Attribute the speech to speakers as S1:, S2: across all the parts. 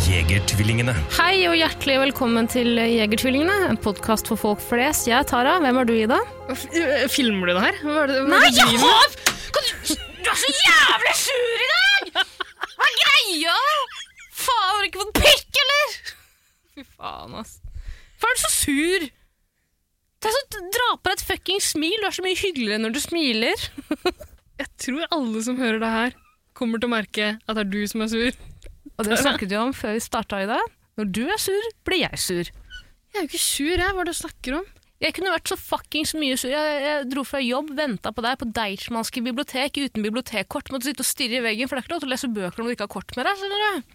S1: Jegertvillingene.
S2: Hei og hjertelig velkommen til Jegertvillingene, en podkast for folk flest. Jeg er Tara. Hvem er du, Ida?
S3: F- øh, Filmer du det her? Hva er det, hva er
S4: Nei,
S3: det du
S4: jeg
S3: driver med?
S4: har Kan du Du er så jævlig sur i dag! Hva er greia? Faen, har du ikke fått pikk, eller? Fy faen, ass. Hvorfor er du så sur? Det er så Dra på deg et fuckings smil. Du er så mye hyggeligere når du smiler.
S3: Jeg tror alle som hører det her, kommer til å merke at det er du som er sur.
S4: Og det snakket vi om før vi starta i dag. Når du er sur, blir jeg sur.
S3: Jeg er jo ikke sur, jeg. Hva er det du snakker om?
S4: Jeg kunne vært så fuckings mye sur. Jeg, jeg dro fra jobb, venta på deg på Deichmanske bibliotek uten bibliotekkort. Måtte sitte og stirre i veggen, for det er ikke lov til å lese bøker når du ikke har kort med deg. skjønner du?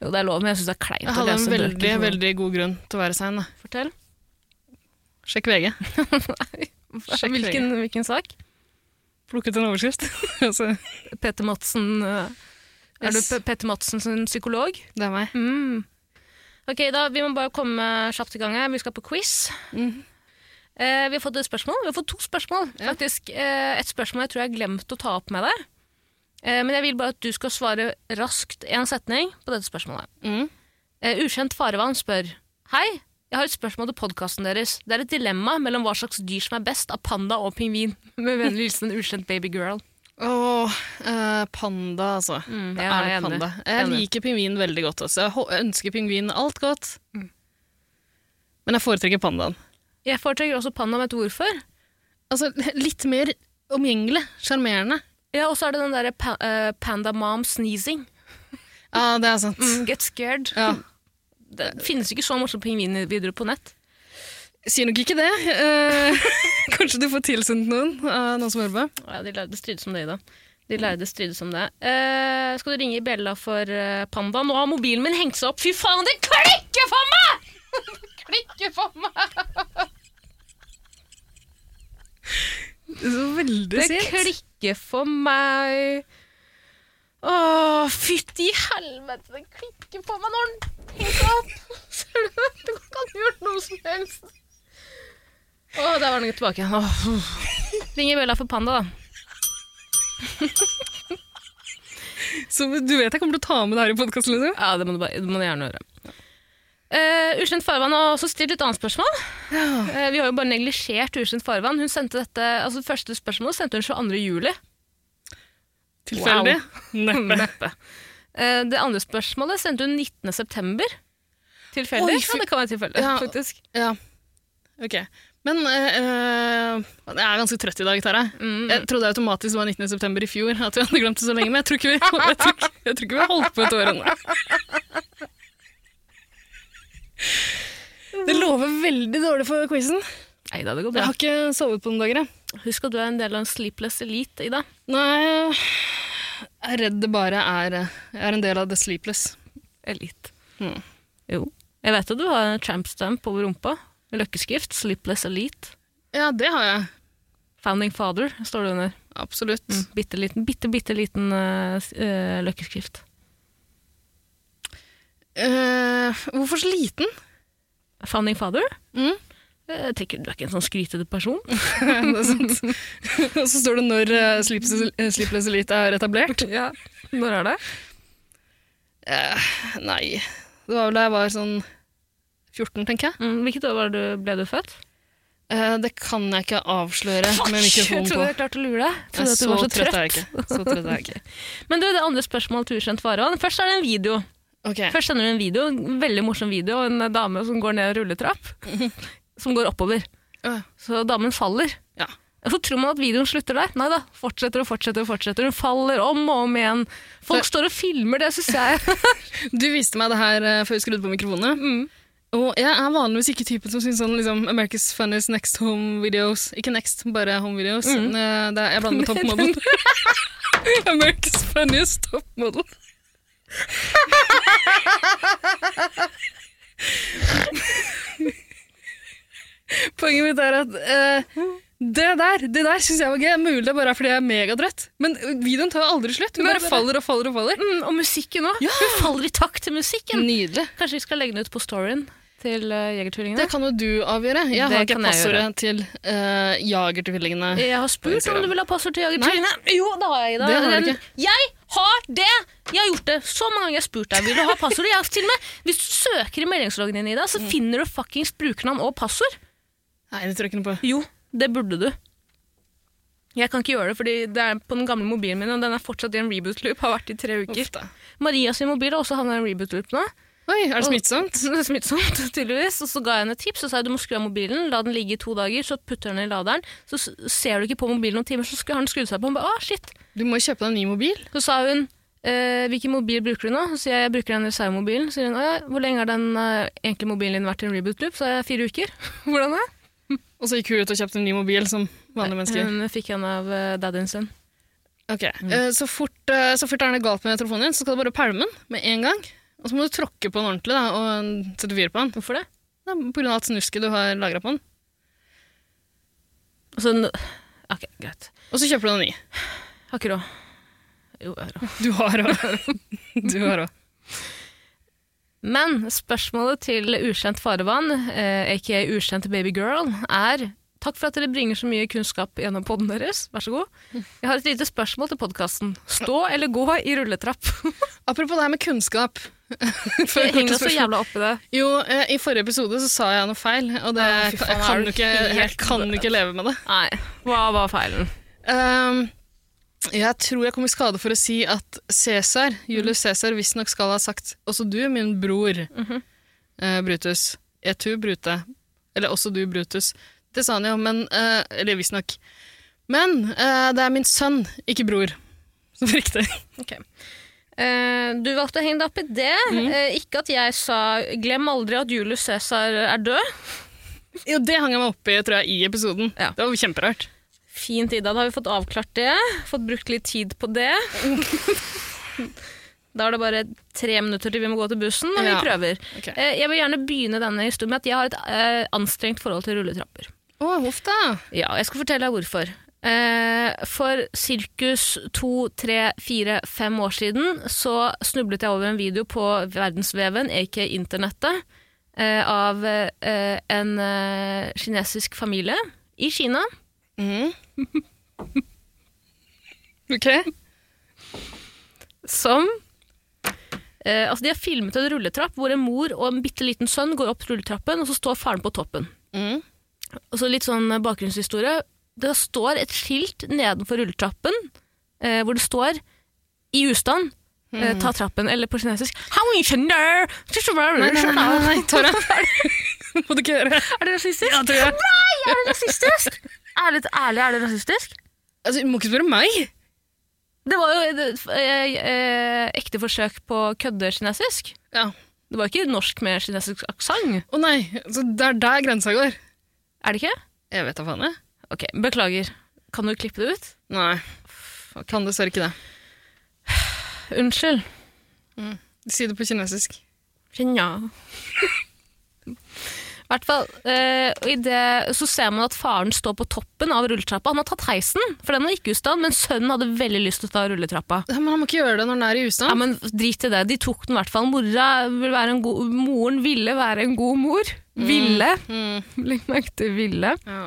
S4: Jo, det er lov, men jeg syns det er kleint
S3: Jeg
S4: å
S3: hadde en
S4: lese
S3: veldig,
S4: bøker.
S3: veldig god grunn til å være sein. da.
S4: Fortell.
S3: Sjekk VG. Sjekk
S4: Hvilken,
S3: VG.
S4: hvilken sak?
S3: Plukket en overskrift. altså,
S4: Petter Madsen øh, Er
S3: Yes.
S4: du P Petter Madsen sin psykolog?
S3: det er meg.
S4: Mm. Ok, da, Vi må bare komme kjapt i gang her. Vi skal på quiz.
S3: Mhm.
S4: Eh, vi har fått et spørsmål. Vi har fått to spørsmål, faktisk. Eh, et spørsmål jeg tror jeg har glemt å ta opp med deg. Eh, men jeg vil bare at du skal svare raskt en setning på dette spørsmålet.
S3: Mm.
S4: Eh, ukjent farevann spør Hei, jeg har et spørsmål til podkasten deres. Det er et dilemma mellom hva slags dyr som er best av panda og pingvin. Med vennlig hilsen en ukjent babygirl.
S3: Åh, eh, panda, altså.
S4: Mm,
S3: Det
S4: ja,
S3: er
S4: jeg er
S3: nok
S4: enig.
S3: panda. Jeg
S4: Enig.
S3: liker pingvin veldig godt. Altså. Jeg hå- ønsker pingvin alt godt. Men jeg foretrekker pandaen.
S4: Jeg foretrekker også panda, vet du hvorfor?
S3: Altså, litt mer omgjengelig. Sjarmerende.
S4: Ja, og så er det den derre pa eh, panda mom sneezing.
S3: Ja, det er sant.
S4: Mm, get scared.
S3: Ja.
S4: Det finnes ikke så morsomme pingvinvideoer på nett.
S3: Sier nok ikke det. Eh, kanskje du får tilsendt noen av noen som hører på.
S4: Ja, de lærde strides om det, Ida. De lærde strides om det. Eh, skal du ringe Bella for eh, panda? Nå har mobilen min hengt seg opp! Fy faen, det klikker for meg! Det klikker for meg!
S3: Så veldig
S4: Det klikker for meg. Å, fytti helvete, det klikker for meg når den henger seg opp! Ser du det? Du kan ikke gjøre noe som helst. Å, der var den tilbake. Åh. Ringer Bella for panda, da.
S3: Så du vet jeg kommer til å ta med det her i podkasten, liksom?
S4: Ja, det må du, bare, det må du gjerne gjøre. Uh, ukjent farvann har også stilt et annet spørsmål. Eh, vi har jo bare neglisjert ukjent farvann. Hun sendte dette, altså Det første spørsmålet sendte hun 22. juli.
S3: Tilfeldig? Neppe.
S4: Neppe. Eh, det andre spørsmålet sendte hun 19. september. Tilfeldig?
S3: Oi, fy-
S4: Ja, det kan være tilfeldig,
S3: Ja.
S4: faktisk.
S3: Ja. Ok. Men eh, eh, jeg er ganske trøtt i dag, Tara. Jeg trodde automatisk det var 19. september i fjor, at vi hadde glemt det så lenge, men jeg tror ikke vi, jeg tror ikke, jeg tror ikke vi har holdt på et år ennå. Det lover veldig dårlig for quizen.
S4: Nei da, det går
S3: Jeg
S4: bra.
S3: har ikke sovet på noen dager, jeg.
S4: Husk at du er en del av en sleepless elite, Ida.
S3: Nei, jeg er redd det bare er eh, Jeg er en del av The Sleepless.
S4: Elite.
S3: Mm.
S4: Jo. Jeg vet at du har en tramp stamp over rumpa. Løkkeskrift. Sleepless elite.
S3: Ja, det har jeg.
S4: Founding father, står det under. Mm,
S3: Absolutt.
S4: Bitte liten, bitte, bitte liten eh, s- eh, løkkeskrift.
S3: Eh, hvorfor så liten?
S4: Founding father?
S3: Mm.
S4: Jeg tenker, Du er ikke en sånn skrytete person.
S3: det er sant. Og så står det når eh, Sleepless, eh, Sleepless Elite er etablert.
S4: Når er det?
S3: Eh, nei, det var vel da jeg var sånn 14, tenker jeg.
S4: Mm, hvilket år var det du, ble du født?
S3: Eh, det kan jeg ikke avsløre Eh, med
S4: jeg
S3: mikrofonen på.
S4: trodde jeg klarte å lure deg.
S3: Jeg
S4: Trodde
S3: er
S4: at du
S3: så
S4: var så
S3: trøtt
S4: trøtt.
S3: er jeg ikke. Så trøtt er jeg ikke.
S4: Men du, det andre spørsmålet til ukjent farevann. Først er det en video.
S3: Ok,
S4: Først sender du en video, en veldig morsom video, av en dame som går ned en rulletrapp. som går oppover.
S3: Øh,
S4: Så damen faller.
S3: Ja.
S4: Og Så tror man at videoen slutter der. Nei da, fortsetter og fortsetter. og fortsetter. Hun faller om og om igjen. Folk
S3: Det-
S4: står og filmer, det syns jeg
S3: Du viste meg det her eh, før vi skrudde på mikrofonene.
S4: Mm.
S3: Og jeg er vanligvis ikke typen som syns sånn liksom, America's Funniest Next Home Videos. Ikke Next, bare Home Videos.
S4: Mm.
S3: Eh, Det er, jeg blander med Top Model. America's Funniest Top Model. På Poenget mitt er at eh, det der det der syns jeg var gøy. Mulig det bare er fordi jeg er megadrett. Men videoen tar aldri slutt. Hun
S4: Nei,
S3: bare
S4: det er det.
S3: faller og faller og faller.
S4: Mm, og musikken òg. Hun faller i takt til musikken.
S3: Nydelig.
S4: Kanskje vi skal legge den ut på storyen til eh, Jegertvillingene?
S3: Det kan jo du avgjøre. Jeg
S4: Det
S3: har ikke
S4: kan jeg
S3: passordet til uh, Jagertvillingene.
S4: Jeg har spurt om du vil ha passord til Jagertvillingene. Jo, det har jeg. da.
S3: Det har du
S4: Den- Jeg har det! Jeg har gjort det så mange ganger jeg har spurt deg. Vil du ha passordet? Jeg har til og med, Hvis du søker i meldingsloggen din, Ida, så
S3: Mm.
S4: finner du fuckings brukernavn og passord.
S3: Nei, det tror jeg ikke noe på.
S4: Jo, det burde du. Jeg kan ikke gjøre det, fordi det er på den gamle mobilen min, og den er fortsatt i en reboot-loop. Har vært i tre uker.
S3: Uff da.
S4: Maria sin mobil har også havna i en reboot-loop nå.
S3: Oi, er det smittsomt?
S4: Så det er Smittsomt, tydeligvis. Og så ga jeg henne et tips og sa jeg, du må skru av mobilen, la den ligge i to dager, så putter du den i laderen. Så s- ser du ikke på mobilen noen timer, så skulle- har den skrudd seg på. Hun bare, ah, shit.
S3: Du må jo kjøpe deg en ny mobil.
S4: Så sa hun eh, hvilken mobil bruker du nå? Så sier jeg jeg bruker den reservemobilen. Så sier hun «Å ja, hvor lenge har den eh, egentlig mobilen din vært i en reboot loop? Så er jeg fire uker. Hvordan er det?
S3: Og så gikk hun ut og kjøpte en ny mobil som
S4: Eh,
S3: vanlige mennesker.
S4: Hun fikk en av eh, daddyen sin.
S3: Ok, eh, Så fort, eh, så fort det er noe galt med telefonen din, så skal du bare pælme den med en gang. Og så må du tråkke på den ordentlig da, og eh, sette fyr på den.
S4: Hvorfor det?
S3: Det er på grunn av at snusket du har lagra på den.
S4: Altså, n- ok, greit.
S3: Og så kjøper du en ny.
S4: Har ikke råd. Jo, jeg har råd.
S3: Du har òg. Du har òg.
S4: Men spørsmålet til ukjent farevann, eh, aka ukjent babygirl, er Takk for at dere bringer så mye kunnskap gjennom podden deres. Vær så god. Jeg har et lite spørsmål til podkasten. Stå eller gå i rulletrapp?
S3: Apropos det her med kunnskap. Før
S4: Jeg
S3: vi går
S4: henger
S3: til
S4: så
S3: spørsmål.
S4: jævla oppi det.
S3: Jo, eh, i forrige episode så sa jeg noe feil, og det
S4: Å, Ah, fy faen,
S3: jeg
S4: er
S3: kan
S4: du
S3: jo ikke, jeg
S4: helt- altså.
S3: kan jo ikke leve med det.
S4: Nei, hva var feilen?
S3: Ehm, jeg tror jeg kom i skade for å si at Cæsar, Julius Cæsar, visstnok skal ha sagt 'også du, min bror',
S4: Mhm.
S3: eh, Brutus. Jeg tu, Brute. Eller 'også du, Brutus'. Det sa han jo, men eh, Eller visstnok. Men eh, det er min sønn, ikke bror, som er riktig.
S4: Eh, du valgte å henge deg opp i det. Eh, ikke at jeg sa 'glem aldri at Julius Cæsar er død'.
S3: Jo, det hang jeg meg opp i, tror jeg, i episoden.
S4: Ja.
S3: Det var kjemperart.
S4: Fint, Ida. Da har vi fått avklart det. Fått brukt litt tid på det. da er det bare tre minutter til vi må gå til bussen, og
S3: Ja.
S4: vi prøver.
S3: Ok.
S4: Eh, jeg vil gjerne begynne denne historien med at jeg har et eh, anstrengt forhold til rulletrapper.
S3: Å, huff da.
S4: Ja, jeg skal fortelle deg hvorfor. Eh, for sirkus to, tre, fire, fem år siden så snublet jeg over en video på verdensveven, aka internettet, eh, av eh, en eh, kinesisk familie i Kina.
S3: Mhm. ok.
S4: som eh, Altså, de har filmet en rulletrapp hvor en mor og en bitte liten sønn går opp rulletrappen, og så står faren på toppen.
S3: Mhm.
S4: Og så litt sånn eh, bakgrunnshistorie. Det står et skilt nedenfor rulletrappen eh, hvor det står 'i ustand'. eh,
S3: Mhm.
S4: Ta trappen, eller på kinesisk
S3: Nei, nei, nei, nei,
S4: Er
S3: nei Tara. Må du ikke gjøre det?
S4: det rasistisk?
S3: Ja, tror jeg.
S4: Er det rasistisk? Ærlig, ærlig, er det rasistisk?
S3: Altså, du må ikke spørre meg.
S4: Det var jo et eh, eh, ekte forsøk på kødde-kinesisk.
S3: Ja.
S4: Det var ikke norsk med kinesisk aksent,
S3: Å nei, så det er der grensa går.
S4: er det ikke?
S3: Jeg vet da faen jeg.
S4: Ok, beklager. Kan du klippe det ut?
S3: Nei, kan dessverre ikke det.
S4: Unnskyld.
S3: Si det på kinesisk.
S4: Nja. I hvert fall, eh, og i det så ser man at faren står på toppen av rulletrappa. Han har tatt heisen, for den var ikke i stand, men sønnen hadde veldig lyst til å ta rulletrappa.
S3: Ja, men han må ikke gjøre det når den er i
S4: Ja,
S3: ustand.
S4: men drit i det. De tok den i hvert fall. Mora vil være en god, moren ville være en god mor. Ville.
S3: Mm.
S4: Legg merke til ville.
S3: Ja.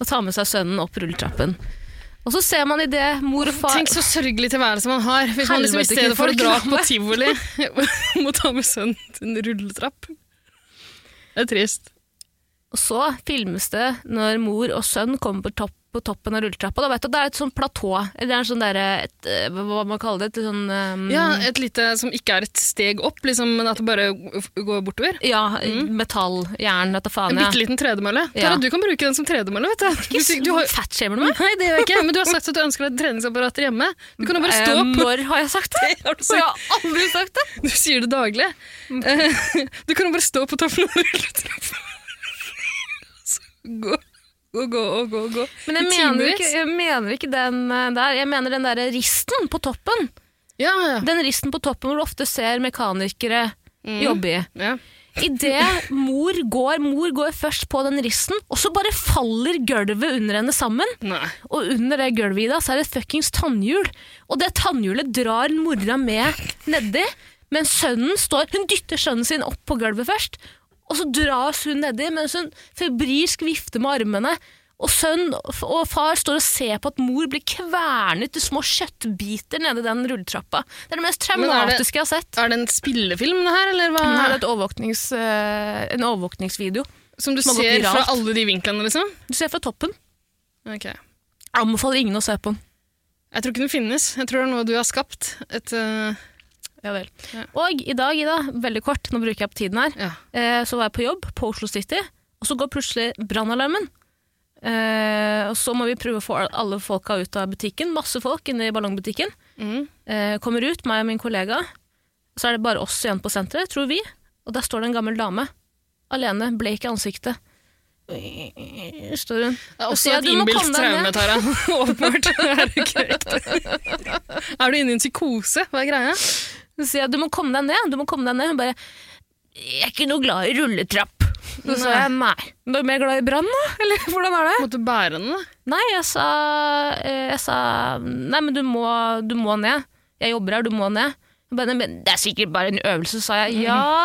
S4: Og ta med seg sønnen opp rulletrappen. Og så ser man i det mor og far
S3: Tenk så sørgelig tilværelse man har hvis man liksom i
S4: Helvete,
S3: stedet for å dra
S4: kvinnfolk,
S3: på
S4: la meg.
S3: tivoli må ta med sønnen til en rulletrapp. Det er trist.
S4: Og så filmes det når mor og sønn kommer på, topp, på toppen av rulletrappa. Da vet du at det er et sånn platå. Eller det er en sånn derre et, eh, Hva man kaller det? Et sånn eh,
S3: Ja, et lite som ikke er et steg opp, liksom, men at det bare går bortover.
S4: ja, metall, jern, dette faen.
S3: Mm. En
S4: Ja.
S3: bitte liten tredemølle.
S4: Ja.
S3: Tara, du kan bruke den som tredemølle, vet du. Du, du har,
S4: Fatshamer du meg?
S3: Nei, det gjør jeg ikke. Men du har sagt at du ønsker deg treningsapparater hjemme. Du kan jo bare stå
S4: Eh,
S3: på
S4: Når har jeg sagt det?
S3: har du
S4: Og jeg har aldri sagt det!
S3: Du sier det daglig. Eh,
S4: Mm.
S3: Du kan jo bare stå på toppen av rulletrappa. Så Gå, gå, gå og gå, gå.
S4: Men jeg
S3: I
S4: mener,
S3: timevis.
S4: ikke, jeg mener ikke den eh, der. Jeg mener den derre risten på toppen.
S3: Ja, ja. Mm.
S4: Den risten på toppen hvor du ofte ser mekanikere jobbe i.
S3: ja.
S4: Idet mor går, mor går først på den risten, og så bare faller gulvet under henne sammen.
S3: Nei.
S4: Og under det gulvet Ida, så er det et fuckings tannhjul. Og det tannhjulet drar mora med nedi, mens sønnen står Hun dytter sønnen sin opp på gulvet først, og så dras hun nedi mens hun febrilsk vifter med armene. Og sønn og far står og ser på at mor blir kvernet i små kjøttbiter nedi den rulletrappa. Det er det mest
S3: Men er det-
S4: traumatiske jeg har sett.
S3: Er det en spillefilm, det her, eller hva?
S4: Nå er det et overvåknings, eh, en overvåkningsvideo.
S3: Som du
S4: som har gått
S3: ser fra
S4: viralt.
S3: alle de vinklene, liksom?
S4: Du ser fra toppen.
S3: Ok.
S4: Jeg anbefaler ingen å se på den.
S3: Jeg tror ikke den finnes. Jeg tror det er noe du har skapt. Et, eh,
S4: Ja vel. Og i dag, Ida, veldig kort, nå bruker jeg opp tiden her,
S3: ja.
S4: eh, så var jeg på jobb på Oslo City, og så går plutselig brannalarmen. Eh, og så må vi prøve å få alle folka ut av butikken. Masse folk inne i ballongbutikken.
S3: Mm.
S4: Eh, kommer ut, meg og min kollega. Så er det bare oss igjen på senteret, tror vi. Og der står det en gammel dame. Alene, blek i ansiktet. Står hun.
S3: Det er også
S4: Ja,
S3: et
S4: du må
S3: innbilt
S4: komme deg
S3: traume,
S4: ned.
S3: Tara. Åpenbart. Er det ikke riktig? Er du inne i en psykose? Hva er greia?
S4: Så sier jeg, du må komme deg ned, du må komme deg ned. Hun bare, jeg er ikke noe glad i rulletrapp. Så sa jeg, nei. Du er mer glad i brann da, eller hvordan er det?
S3: Måtte du bære den, da?
S4: Nei, jeg sa, eh, jeg sa nei, men du må, du må ned. Jeg jobber her, du må ned. Hun bare, «Nei, men det er sikkert bare en øvelse, sa jeg. Ja,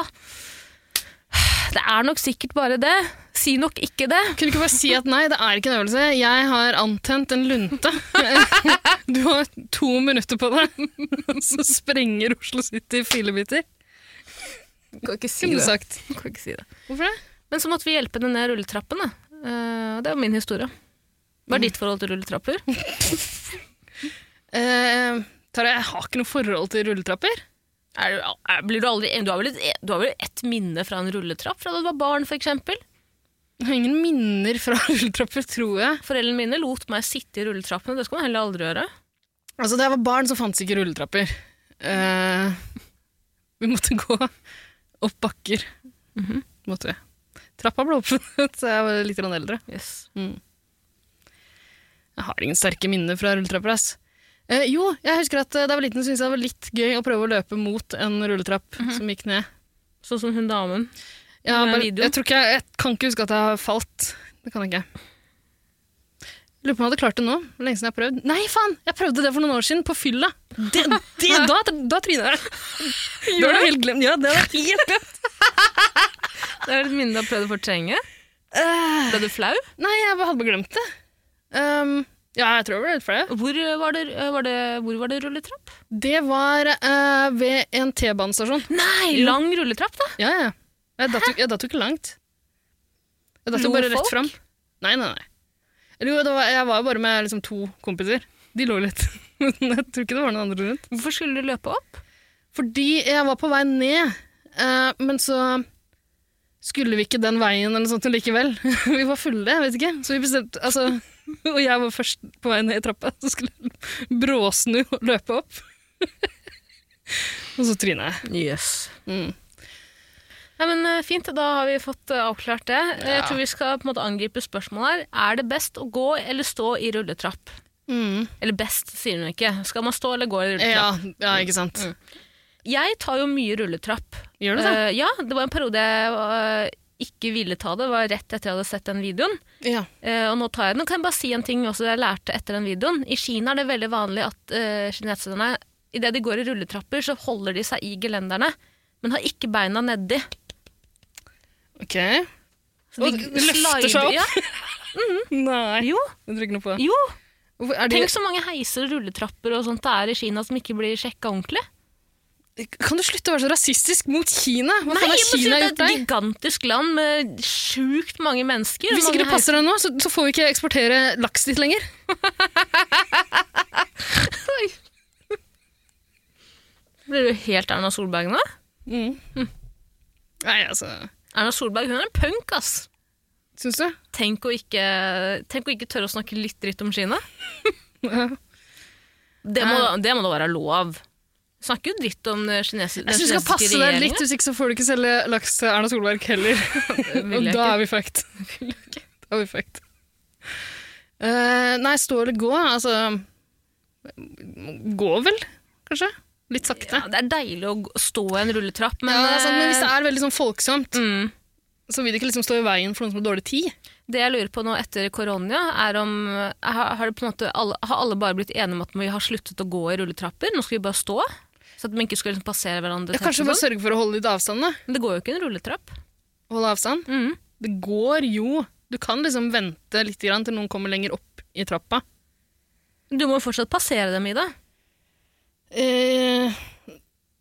S4: det er nok sikkert bare det. Si nok ikke det.
S3: Kunne du ikke bare si at nei, det er ikke en øvelse. Jeg har antent en lunte. Du har to minutter på deg, og så sprenger Oslo City i filebiter.
S4: Kan ikke si
S3: Kunne du sagt.
S4: Kan ikke si det.
S3: Hvorfor det?
S4: Men så måtte vi hjelpe henne ned rulletrappen. Da. Eh, det er min historie. Hva er ditt forhold til rulletrapper?
S3: Eh, Tara, jeg har ikke noe forhold til rulletrapper.
S4: Er du, er, blir du, aldri, du, har vel et, du har vel ett minne fra en rulletrapp fra da du var barn, for eksempel?
S3: Jeg har ingen minner fra rulletrapper, tror jeg.
S4: Foreldrene mine lot meg sitte i rulletrappene, det skal man heller aldri gjøre.
S3: Altså, da jeg var barn, så fantes ikke rulletrapper. Eh, vi måtte gå opp bakker. Måtte vi. Trappa ble oppfunnet, så jeg var litt grann eldre.
S4: Yes.
S3: Jeg har ingen sterke minner fra rulletrapper, ass. Eh, jo, jeg husker at eh, da jeg var liten, syntes jeg det var litt gøy å prøve å løpe mot en rulletrapp som gikk ned.
S4: Sånn som hun damen.
S3: Jeg, har
S4: Den
S3: bare,
S4: videoen?
S3: jeg, tror ikke jeg, jeg kan ikke huske at jeg har falt. Det kan jeg ikke. Lurer på om jeg hadde klart det nå. Hvor Lenge siden jeg har prøvd. Nei, faen! Jeg prøvde det for noen år siden, på fylla. Det, det, da da tryna jeg. Det var det helt glemt. Ja, det var helt
S4: Det er et minne du har prøvd å fortrenge.
S3: Eh,
S4: Ble du flau?
S3: Nei, jeg bare hadde bare glemt det. Um, ja, jeg tror jeg ble litt flau.
S4: Hvor eh, var det, eh, var det, hvor var det rulletrapp?
S3: Det var eh, ved en T-banestasjon.
S4: Nei,
S3: Jo.
S4: lang rulletrapp, da.
S3: Ja, ja. Jeg datt, jo- jeg datt jo ikke langt. Jeg datt jo
S4: Lo
S3: bare rett
S4: folk?
S3: fram. Nei, nei, nei. Eller jo, det var, jeg var jo bare med liksom, to kompiser. De lå litt. Men jeg tror ikke det var noen andre rundt.
S4: Hvorfor skulle du løpe opp?
S3: Fordi jeg var på vei ned, eh, men så skulle vi ikke den veien eller noe sånt likevel. vi var fulle, jeg vet ikke. Så vi bestemte, altså, og jeg var først på vei ned i trappa, så skulle jeg bråsnu og løpe opp. og så tryna jeg.
S4: Yes.
S3: Mm.
S4: Nei, men eh, Fint, da har vi fått eh, avklart det. Eh, Jeg
S3: Ja.
S4: tror vi skal på en måte angripe spørsmålet her. Er det best å gå eller stå i rulletrapp?
S3: Mm.
S4: Eller best, sier hun ikke. Skal man stå eller gå i rulletrapp?
S3: Ja, ja, ikke sant.
S4: Jeg tar jo mye rulletrapp.
S3: Gjør du det?
S4: Mm. Eh, ja, det var en periode jeg eh, ikke ville ta det. Det var rett etter jeg hadde sett den videoen.
S3: Ja.
S4: Eh, og nå tar jeg den. Nå kan jeg bare si en ting også jeg lærte etter den videoen. I Kina er det veldig vanlig at uh, kineserne idet de går i rulletrapper, så holder de seg i gelenderne, men har ikke beina nedi.
S3: Ok.
S4: Så
S3: Og de løfter seg
S4: slider- Ja,
S3: opp? Nei,
S4: jo,
S3: jeg tror ikke noe på det.
S4: jo.
S3: Hvorfor Er
S4: Tenk så mange heiser og rulletrapper og sånt det er i Kina som ikke blir sjekka ordentlig.
S3: de, kan du slutte å være så rasistisk mot Kina? Hva
S4: Nei,
S3: faen har
S4: jeg må si
S3: Kina
S4: det er
S3: gjort
S4: et
S3: deg?
S4: gigantisk land med sjukt mange mennesker.
S3: Hvis
S4: mange
S3: ikke du passer deg nå, så, så får vi ikke eksportere laks dit lenger.
S4: heiser. Blir du helt Erna Solberg nå?
S3: Nei, altså,
S4: Erna Solberg hun er en punk, ass.
S3: syns du?
S4: Tenk å ikke, tenk å ikke tørre å snakke litt dritt om Kina. Det må, det må da være lov. Snakker jo dritt om den kinesi- den
S3: Jeg syns du
S4: kinesiske
S3: skal passe deg litt,
S4: regjeringen.
S3: hvis ikke så får du ikke selge laks til Erna Solberg heller.
S4: vil
S3: Og
S4: jeg ikke.
S3: da er vi fucked. da er vi fucked. Eh, nei, stå eller gå, altså Gå vel, kanskje? Litt sakte.
S4: Ja, det er deilig å gå- stå i en rulletrapp, men,
S3: Men, ja, det er sant, men hvis det
S4: eh,
S3: er veldig sånn folksomt,
S4: mm,
S3: så vil det ikke liksom stå i veien for noen som har dårlig tid.
S4: Det jeg lurer på nå etter korona, er om eh, har, har, det på en måte, alle, har alle bare blitt enige om at vi har sluttet å gå i rulletrapper? Nå skal vi bare stå? Så at vi ikke skal liksom passere hverandre?
S3: Ja,
S4: tenker
S3: kanskje bare
S4: jeg sånn.
S3: sørge for å holde litt avstand, da.
S4: Men det går jo ikke en rulletrapp.
S3: Holde avstand.
S4: Mhm.
S3: Det går jo. Du kan liksom vente litt grann til noen kommer lenger opp i trappa.
S4: Du må jo fortsatt passere dem, Ida.
S3: Eh,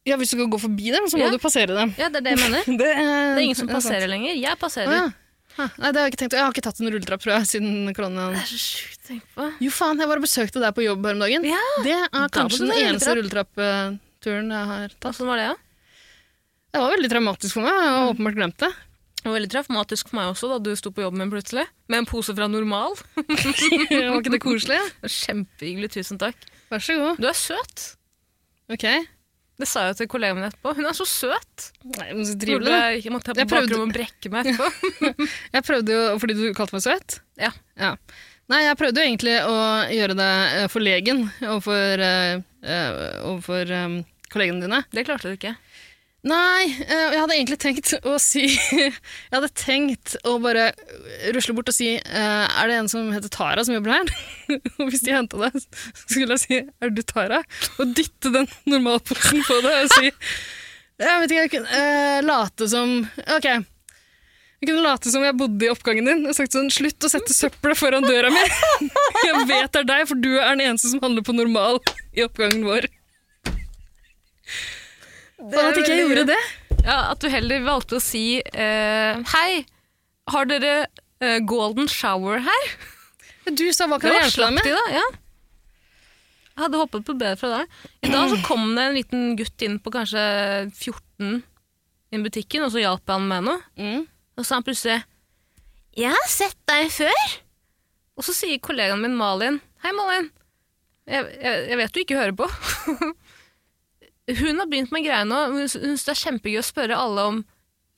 S3: ja, hvis du skal gå forbi dem, så må
S4: Ja.
S3: du passere dem.
S4: Ja, det er det jeg mener.
S3: Det,
S4: Det er ingen som passerer lenger. Jeg passerer.
S3: Å, ja. Ha, Nei, det har jeg ikke tenkt. Jeg har ikke tatt en rulletrapp, tror jeg, siden koronaen.
S4: Det er så sjukt å tenke på.
S3: Jo faen, jeg var og besøkte deg på jobb her om dagen.
S4: Ja,
S3: Det er
S4: må
S3: kanskje
S4: du
S3: den
S4: ta
S3: eneste rulletrappturen jeg har tatt.
S4: Hvordan sånn var det, da?
S3: Det var veldig traumatisk for meg, jeg har åpenbart glemt det.
S4: Det var veldig traumatisk for meg også da du sto på jobben min plutselig. Med en pose fra Normal.
S3: var ikke det koselig?
S4: Kjempehyggelig, tusen takk.
S3: Vær så god.
S4: Du er søt.
S3: Ok.
S4: Det sa jeg til kollegaen min etterpå. Hun er så søt.
S3: Nei, men så
S4: Jeg
S3: trivelig. da.
S4: ble- Jeg måtte ta på
S3: Jeg prøvde-
S4: bakrommet og brekke meg etterpå.
S3: Jeg prøvde jo, fordi du kalte meg søt.
S4: Ja.
S3: Nei, jeg prøvde jo egentlig å gjøre deg eh, forlegen overfor, eh, eh, overfor eh, kollegene dine.
S4: Det klarte du ikke.
S3: Nei, eh, jeg hadde egentlig tenkt å si Jeg hadde tenkt å bare rusle bort og si eh, Er det en som heter Tara som jobber her? Og hvis de henta deg, så skulle jeg si Er du Tara? Og dytte den normalposen på deg og si Jeg vet ikke, jeg kunne eh, late som Ok. Jeg kunne late som jeg bodde i oppgangen din og sagt sånn Slutt å sette søppelet foran døra mi! Jeg vet det er deg, for du er den eneste som handler på normal i oppgangen vår. Og at ikke jeg gjorde det.
S4: Ja, At du heller valgte å si eh, Hei, har dere eh, golden shower her?
S3: Du sa hva
S4: Det
S3: kan jeg
S4: var
S3: hjelpe deg
S4: slapt
S3: med?
S4: i dag, ja. Jeg hadde hoppet på bedre fra deg. I dag så kom det en liten gutt inn på kanskje 14 i butikken, og så hjalp han meg noe.
S3: Mm.
S4: Og så sa han plutselig 'Jeg har sett deg før'. Og så sier kollegaen min Malin 'Hei, Malin. Jeg, jeg, jeg vet du ikke hører på.' hun har begynt med en greie nå. Hun sy- hun syns det er kjempegøy å spørre alle om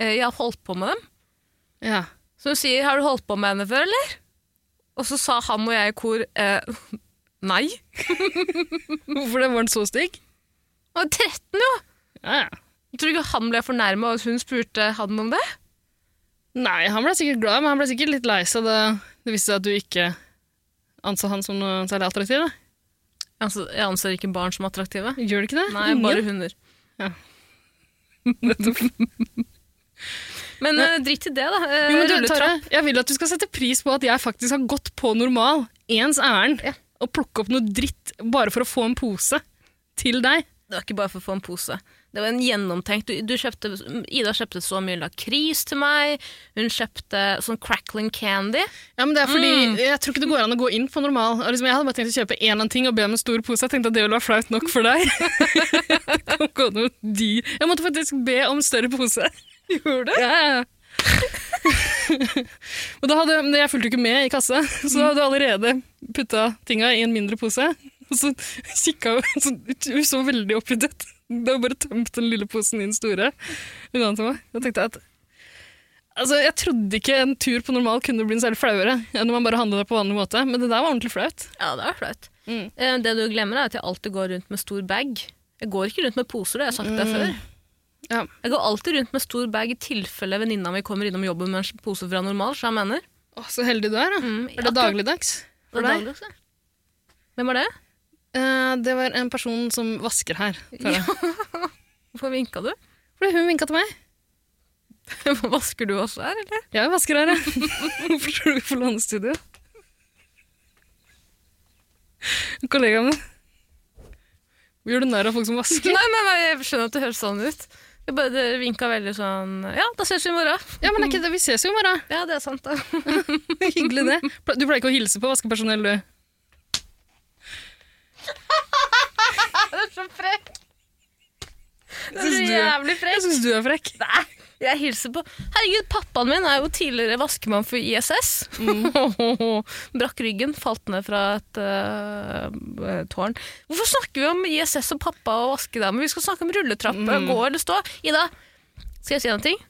S4: eh, 'jeg har holdt på med dem'.
S3: Ja.
S4: Så hun sier 'har du holdt på med henne før', eller? Og så sa han og jeg i kor eh, 'nei'.
S3: Hvorfor det var den så stygg?
S4: Han var 13 jo!
S3: Ja, ja.
S4: Tror du ikke han ble fornærma av at hun spurte han om det?
S3: Nei, han ble sikkert glad, men han ble sikkert litt lei seg da det viste seg at du ikke anså han som noe særlig attraktiv. da.
S4: Altså, jeg anser ikke barn som attraktive.
S3: Gjør du ikke det?
S4: Nei,
S3: Ingen?
S4: bare hunder. Men eh, dritt i det, da. Eh,
S3: Jo, men du,
S4: rulletrapp.
S3: Tara, jeg vil at du skal sette pris på at jeg faktisk har gått på normal, ens ærend, og plukke opp noe dritt bare for å få en pose til deg.
S4: Det var ikke bare for å få en pose. Det var en gjennomtenkt. Du, du kjøpte, Ida kjøpte så mye lakris til meg. Hun kjøpte sånn crackling candy.
S3: Ja, men det er fordi Jeg tror ikke det går an å gå inn på normal. Og liksom, jeg hadde bare tenkt å kjøpe én eller annen ting og be om en stor pose. Jeg tenkte at det ville være flaut nok for deg. Det kom gående med de. Jeg måtte faktisk be om større pose. Gjorde du? Ja, ja. Og da hadde, men jeg fulgte jo ikke med i kassa, så da hadde jeg allerede putta tinga i en mindre pose. Og så kikka hun så, hun så veldig oppgitt ut. Da hun bare tømte den lille posen i den store. Hun ga den til meg. Da tenkte jeg at Altså, Jeg trodde ikke en tur på normal kunne bli en særlig flauere enn om man bare handla på vanlig måte, men det der var ordentlig flaut.
S4: Ja, det var flaut.
S3: Mm.
S4: Eh, Det du glemmer, er at jeg alltid går rundt med stor bag. Jeg går ikke rundt med poser, det har jeg sagt deg før.
S3: Mm. Ja.
S4: Jeg går alltid rundt med stor bag i tilfelle venninna mi kommer innom jobben med en pose fra normal, så jeg mener.
S3: Å, Så heldig du er, da.
S4: Mm,
S3: Er det dagligdags
S4: for
S3: for deg?
S4: deg? Hvem var det?
S3: Eh, det var en person som vasker her. Tara.
S4: Hvorfor vinka du?
S3: Fordi hun vinka til meg.
S4: Vasker du også her, eller?
S3: Jeg vasker her, jeg. Hvorfor tror du vi får lånestudio? Kollegaen min. Gjør du narr av folk som vasker?
S4: Nei, nei, nei, jeg skjønner at det høres sånn ut. Jeg bare det vinka veldig sånn Ja, da ses vi i morgen.
S3: Ja, men er ikke det, Vi ses jo i morgen.
S4: Ja, det er sant, da.
S3: Hyggelig, det. Ple- Du pleier ikke å hilse på vaskepersonell, du.
S4: så frekk. Det er
S3: Syns
S4: så
S3: du-
S4: jævlig frekk.
S3: Jeg syns du er frekk.
S4: Jeg hilser på Herregud, pappaen min er jo tidligere vaskemann for ISS. Brakk ryggen, falt ned fra et øh, tårn. Hvorfor snakker vi om ISS og pappa og vaskedamer? Vi skal snakke om rulletrappe, gå eller stå. Ida, skal jeg si en ting?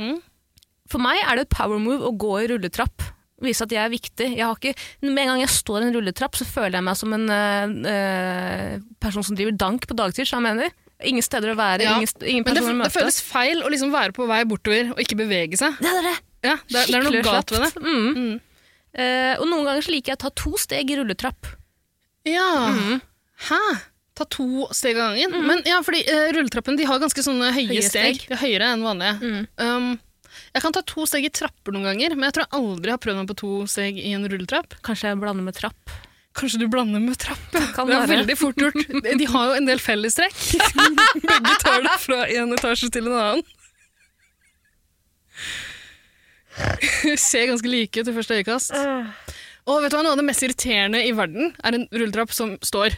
S3: Mm.
S4: For meg er det et power move å gå i rulletrapp. Vise at jeg er viktig. Jeg har ikke, med en gang jeg står i en rulletrapp, så føler jeg meg som en eh, eh, person som driver dank på dagtid. Så jeg mener. Ingen steder å være,
S3: Ja,
S4: ingen, st- ingen
S3: Men det,
S4: personer å
S3: det
S4: møte.
S3: føles feil å liksom være på vei bortover og ikke bevege seg.
S4: det er det.
S3: Ja, det, er- det er noe
S4: Skikkelig
S3: galt ved det.
S4: slapt. Mm. Eh, og noen ganger så liker jeg å ta to steg i rulletrapp.
S3: Ja.
S4: Mm.
S3: Hæ? Ta to steg av gangen? Men ja, fordi eh, rulletrappen de har ganske sånne høye,
S4: Høye
S3: steg.
S4: steg. Mm.
S3: Ja, høyere enn vanlige. Um, jeg kan ta to steg i trapper noen ganger, men jeg tror jeg aldri har prøvd meg på to steg i en rulletrapp.
S4: Kanskje jeg blander med trapp.
S3: Kanskje du blander med trappe?
S4: Kan
S3: det er
S4: være.
S3: veldig fort gjort. De har jo en del fellestrekk. Begge tar det fra en etasje til en annen. Ser ganske like ut i første øyekast. Og vet du hva, Noe av det mest irriterende i verden er en rulletrapp som står.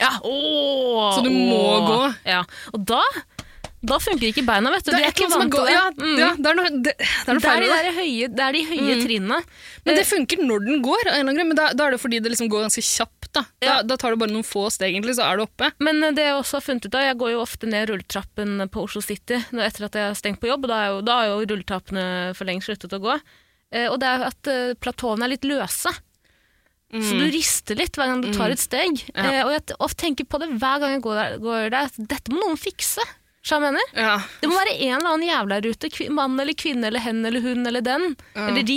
S4: Ja, åh,
S3: Så du må
S4: åh.
S3: gå.
S4: Ja. Og da, da funker ikke beina, vet du. De
S3: Det er,
S4: er
S3: et
S4: ikke
S3: eller annet som
S4: vant
S3: er gå-
S4: til det.
S3: ja,
S4: Mm.
S3: ja, det er noe, det, det er noe
S4: Det er
S3: feil
S4: de,
S3: med det.
S4: der høye, det er de høye
S3: Mm.
S4: trinnene.
S3: Men det funker når den går, av en eller annen grunn, men da, da er det fordi det liksom går ganske kjapt. Da. Da,
S4: Ja.
S3: da tar det bare noen få steg, egentlig, så er du oppe.
S4: Men eh, det jeg også har funnet ut av, jeg går jo ofte ned rulletrappen på Oslo City nå etter at jeg har stengt på jobb, og da er jo, da er jo rulletrappene for lenge sluttet å gå. Eh, og det er at eh, platåene er litt løse. Så du rister litt hver gang du tar et steg.
S3: Ja.
S4: Eh, og jeg t- ofte tenker på det hver gang jeg går der, går der at dette må noen fikse. Så jeg mener.
S3: Ja.
S4: Det må være en eller annen jævla der ute, kvi- mann eller kvinne eller hen eller hun eller den, eller de,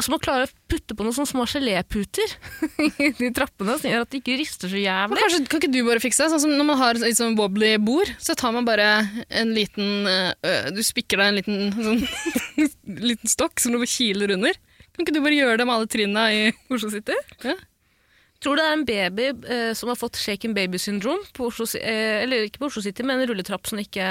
S4: som må klare å putte på noen sånne små geléputer i de trappene, som gjør at de ikke rister så
S3: Men
S4: jævlig.
S3: kanskje, kan ikke du bare fikse det? Sånn som når man har et litt sånn wobbly bord, så tar man bare en liten øh, Du spikker deg en liten, sånn, liten stokk som du bare kiler under. Kan ikke du bare gjøre det med alle trinna i Oslo City? Ja.
S4: Tror du det er en baby eh, som har fått shaken baby-syndrom, på Oslo, Si- eh, eller ikke på Oslo City, men en rulletrapp som ikke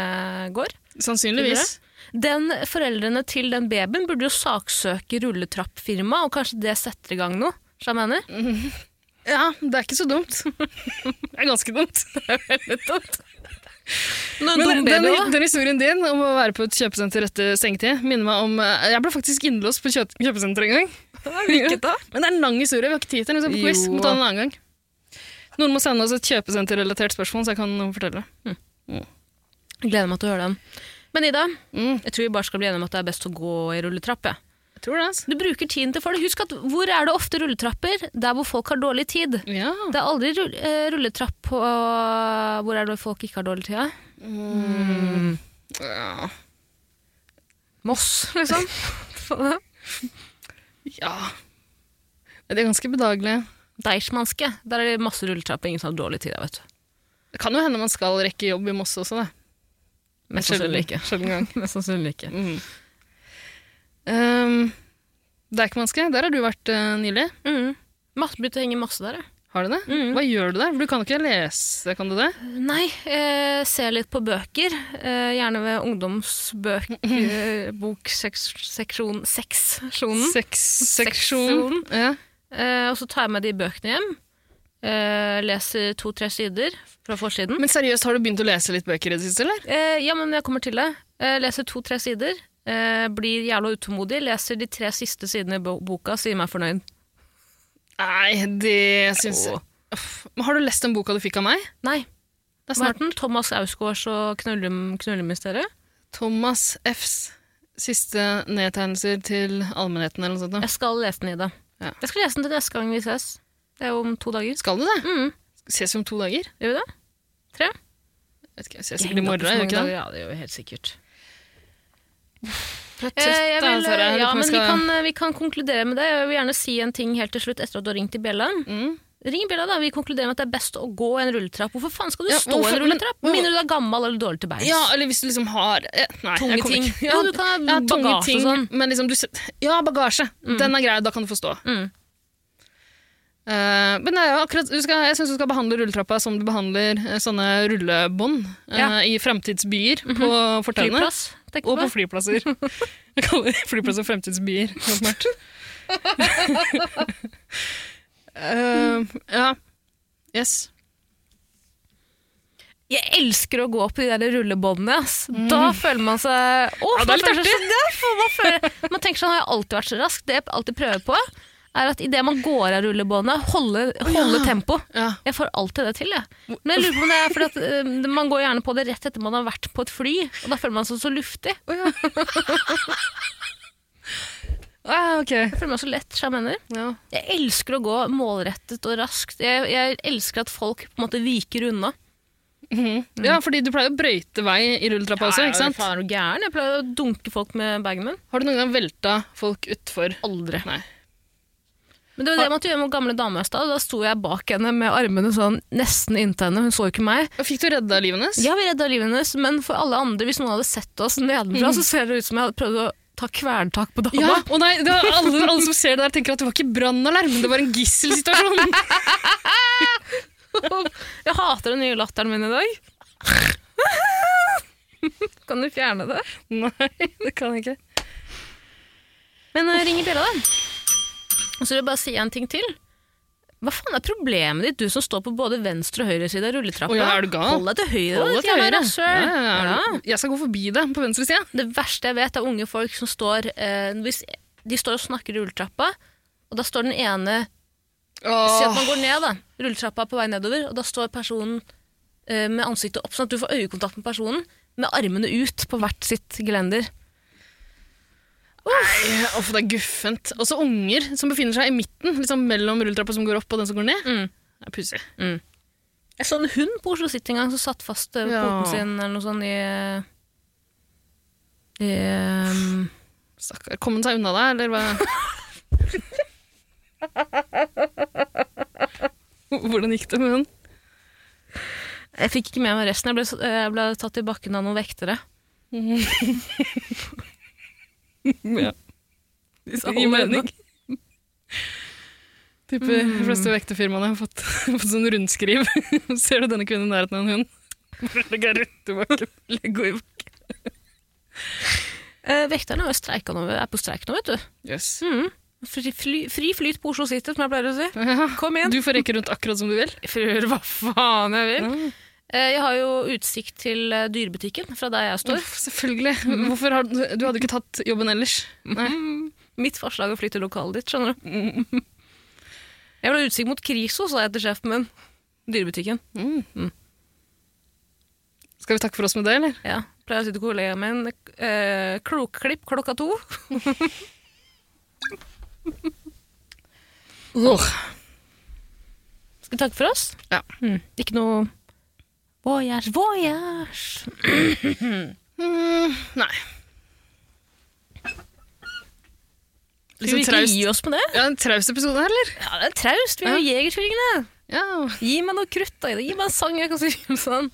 S4: går?
S3: Sannsynligvis.
S4: Den Foreldrene til den babyen burde jo saksøke rulletrappfirmaet, og kanskje det setter i gang noe. Så jeg mener.
S3: Mm. Ja, det er ikke så dumt. Det er ganske dumt. Det er veldig dumt.
S4: Men
S3: Men
S4: dum
S3: den,
S4: baby,
S3: den,
S4: da.
S3: den historien din om å være på et kjøpesenter etter stengetid minner meg om eh, Jeg ble faktisk innlåst på kjø kjøpesenter en gang.
S4: da?
S3: Men det er en lang historie. Vi har ikke tid til den. Vi skal på quiz. Vi må ta den en annen gang. Noen må sende oss et kjøpesenterrelatert spørsmål, så jeg kan fortelle.
S4: Gleder meg til å høre den. Men Ida,
S3: Mm.
S4: jeg tror vi bare skal bli enige om at det er best å gå i rulletrapp. Ja.
S3: Jeg tror det, altså.
S4: Du bruker tiden til for det. Husk at hvor er det ofte rulletrapper? Der hvor folk har dårlig tid.
S3: Ja.
S4: Det er aldri rull- eh, rulletrapp på Hvor er det folk ikke har dårlig tid? ja?
S3: ja.
S4: Moss, liksom.
S3: Ja. Det er ganske bedagelig.
S4: Deichmanske. Der er det masse rulletrapper, ingen som har dårlig tid. der, vet du.
S3: Det kan jo hende man skal rekke jobb i Moss også, da.
S4: Mest sannsynlig ikke.
S3: Sjelden gang.
S4: Mest sannsynlig ikke.
S3: Mm. Um, Deichmanske, der har du vært eh, nylig.
S4: Mm. Masse, begynte å henge masse der, jeg.
S3: Har du det? Hva gjør du der? For Du kan jo ikke lese, kan du det?
S4: Nei, eh, se litt på bøker. Eh, gjerne ved ungdomsbokseksjonen. eh,
S3: Mm.
S4: Seksjonen.
S3: Sexseksjon. Ja.
S4: Eh, og så tar jeg med de bøkene hjem. Eh, leser to-tre sider fra forsiden.
S3: Men seriøst, har du begynt å lese litt bøker i det siste, eller?
S4: Eh, ja, men jeg kommer til det. Eh, leser to-tre sider. Eh, blir jævla utålmodig. Leser de tre siste sidene i bo- boka, sier meg fornøyd.
S3: Nei, det syns jeg Uff. Men Har du lest den boka du fikk av meg?
S4: Nei.
S3: Det er
S4: Hva
S3: snart
S4: heter den? Thomas Ausgaards og Knullum- Knullemysteriet?
S3: Thomas Fs siste nedtegnelser til allmennheten, eller noe sånt. da.
S4: Jeg skal lese den i det.
S3: Ja.
S4: Jeg skal lese den til neste gang vi ses. Det er jo om to dager.
S3: Skal du det?
S4: Mm.
S3: Ses vi om to dager?
S4: Gjør vi det? Tre?
S3: Vet ikke, ses sikkert i morgen, gjør vi ikke
S4: Dager,
S3: det?
S4: ja, det gjør vi helt sikkert.
S3: Jeg er
S4: Eh,
S3: trøtt,
S4: jeg
S3: da,
S4: vil,
S3: Tara. Jeg lurer
S4: ja,
S3: på om
S4: men
S3: jeg
S4: vi
S3: skal-
S4: kan, eh, vi kan konkludere med det. Jeg vil gjerne si en ting helt til slutt etter at du har ringt i bjella.
S3: Mm.
S4: Ring bjella, da. Vi konkluderer med at det er best å gå en rulletrapp. Hvorfor faen skal du
S3: Ja,
S4: stå i
S3: hvorfor-
S4: en rulletrapp?
S3: men-
S4: Minner du deg gammel eller dårlig til beins?
S3: Ja, eller hvis du liksom har eh, Nei,
S4: Tunge
S3: jeg kommer
S4: ting.
S3: ikke-
S4: Jo, du kan ha
S3: ja, tunge
S4: bagasje og
S3: ting,
S4: sånn.
S3: Men liksom, du, set- ja, bagasje. Den er grei, da kan du få stå.
S4: Mm.
S3: Eh, men det er jo akkurat, du skal, jeg syns du skal behandle rulletrappa som du behandler eh, sånne rullebånd eh,
S4: Ja. Mhm.
S3: i framtidsbyer på fortauene.
S4: Flyplass, tenker
S3: Og
S4: du på?
S3: på flyplasser. Jeg kaller flyplasser fremtidsbyer. åpenbart. Eh, ja. Yes.
S4: Jeg elsker å gå på de der rullebåndene. Ass. Da føler man seg Å,
S3: Ja, det er litt
S4: man føler seg- Mm. Ja, for man, føler, man tenker sånn har jeg alltid vært så rask. Det jeg alltid prøver på, er at idet man går av rullebåndet, holde, holde tempo.
S3: Ja.
S4: Jeg får alltid det til, jeg. Men jeg lurer på om det er fordi at eh, man går gjerne på det rett etter man har vært på et fly, og da føler man seg så luftig.
S3: Ah, ok.
S4: Jeg føler meg så lett, sjamaner.
S3: Ja.
S4: Jeg elsker å gå målrettet og raskt. Jeg, jeg elsker at folk på en måte viker unna.
S3: ja, fordi du pleier å brøyte vei i rulletrappa også, ikke sant?
S4: Mm. Faen, er du gæren? Jeg pleier å dunke folk med bagen min.
S3: Har du noen gang velta folk utfor?
S4: Aldri.
S3: Nei.
S4: Men det var det jeg måtte gjøre med gamle dame i stad. Da sto jeg bak henne med armene sånn nesten inntil henne. Hun så jo ikke meg.
S3: Og Fikk du redda livet hennes?
S4: Ja, vi redda livet hennes, men for alle andre, hvis noen hadde sett oss nedenfra, så ser det ut som jeg hadde prøvd å ta kvelertak på dama.
S3: Ja, og nei, det var alle, alle som ser det der, tenker at det var ikke brannalarm, det var en gisselsituasjon.
S4: Jeg hater den nye latteren min i dag. kan du fjerne det?
S3: nei, det kan jeg ikke.
S4: Men eh, ringer dere, da? Og så vil jeg bare si en ting til. Hva faen er problemet ditt, du som står på både venstre og høyre side av rulletrappa?
S3: Å ja, er du gal?
S4: Hold deg til høyre,
S3: Hold
S4: da,
S3: deg
S4: ditt
S3: til
S4: jævla
S3: høyre.
S4: rasshøl.
S3: Ja, ja, ja.
S4: Ja.
S3: Jeg skal gå forbi det på venstre side.
S4: Det verste jeg vet, er unge folk som står eh, hvis De står og snakker i rulletrappa, og da står den ene Si at
S3: Åh,
S4: man går ned, da. Rulletrappa er på vei nedover, og da står personen eh, med ansiktet opp, sånn at du får øyekontakt med personen, med armene ut på hvert sitt gelender.
S3: uff, det er guffent. Også unger som befinner seg i midten, liksom mellom rulletrappa som går opp og den som går ned.
S4: Mm.
S3: Det er pussig.
S4: Jeg så en hund på Oslo City en gang som satt fast eh, ved
S3: Ja.
S4: poten sin eller noe sånt i eh, i, eh,
S3: Stakkar. Kom den seg unna deg, eller hva? Hvordan gikk det med den?
S4: jeg fikk ikke med meg resten. Jeg ble, s- eh, jeg ble tatt i bakken av noen vektere.
S3: Ja.
S4: Gir mening.
S3: Type
S4: Mm.
S3: De fleste vekterfirmaene har fått, fått sånn rundskriv. Ser du denne kvinnen i nærheten av en hund? Bare Legg henne rett i bakken. Legg henne i bakken.
S4: Eh, Vekterne har jo streika nå, er på streik nå, vet du.
S3: Yes.
S4: Mhm. Fri, fly, fri flyt på Oslo City, som jeg pleier å si.
S3: Ja.
S4: Kom igjen!
S3: Du får reke rundt akkurat som du vil.
S4: Jeg får gjøre hva faen jeg vil. Eh, Jeg har jo utsikt til eh, dyrebutikken fra der jeg står.
S3: Uff, selvfølgelig. Hvorfor har, du hadde jo ikke tatt jobben ellers. Nei.
S4: Mitt forslag er å flytte lokalet ditt, skjønner du. Jeg vil ha utsikt mot Kriso, sa jeg til sjefen min. Dyrebutikken.
S3: Mm. Skal vi takke for oss med det, eller?
S4: Ja. Pleier å si til kollegaen min eh, klokklipp klokka to. Skal vi takke for oss?
S3: Ja.
S4: Mm. Ikke noe voyage, voyage.
S3: Mm, nei.
S4: Skal vi
S3: Litt
S4: ikke
S3: sånn
S4: gi
S3: traust.
S4: oss med det?
S3: Ja, en traust episode her, eller?
S4: Ja, det er traust. Vi er jo Jegertvillingene.
S3: Ja.
S4: Gi meg noe krutt, da. Ida. Gi meg en sang jeg kan synge sånn.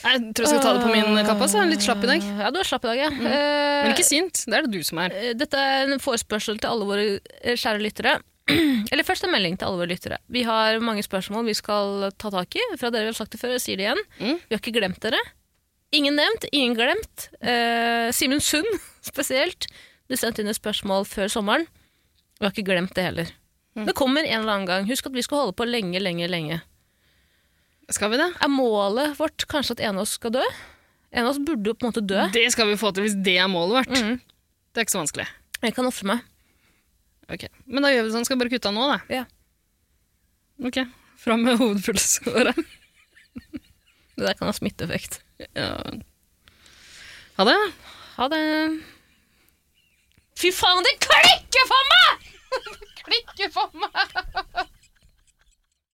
S3: Jeg tror jeg skal ta det på min kappe. Altså. Litt slapp i dag.
S4: Ah.
S3: Mm.
S4: Ja, du er slapp i dag, ja.
S3: Men
S4: Eh,
S3: ikke sint. Det er det du som er.
S4: eh, Dette er en forespørsel til alle våre eh, kjære lyttere. Eller først en melding til alle våre lyttere. Vi har mange spørsmål vi skal ta tak i. Fra dere vi har sagt det før, jeg sier det igjen.
S3: Mm.
S4: Vi har ikke glemt dere. Ingen nevnt, ingen glemt. Eh, Simen Sund spesielt. Du sendte inn et spørsmål før sommeren. Vi har ikke glemt det heller.
S3: Mm.
S4: Det kommer en eller annen gang. Husk at vi skal holde på lenge, lenge, lenge.
S3: Skal vi det?
S4: Er målet vårt kanskje at en av oss skal dø? En av oss burde jo på en måte dø.
S3: Det skal vi få til hvis det er målet vårt.
S4: Mhm.
S3: Det er ikke så vanskelig.
S4: Jeg kan ofre meg.
S3: Ok. Men da gjør vi det sånn. Skal vi bare kutte av nå, da?
S4: Ja.
S3: Ok. Fram med hovedpulsåret.
S4: Det der kan ha smitteeffekt.
S3: ja. Ha det.
S4: Ha det. Fy faen, det klikker for meg!
S5: Klikke for meg!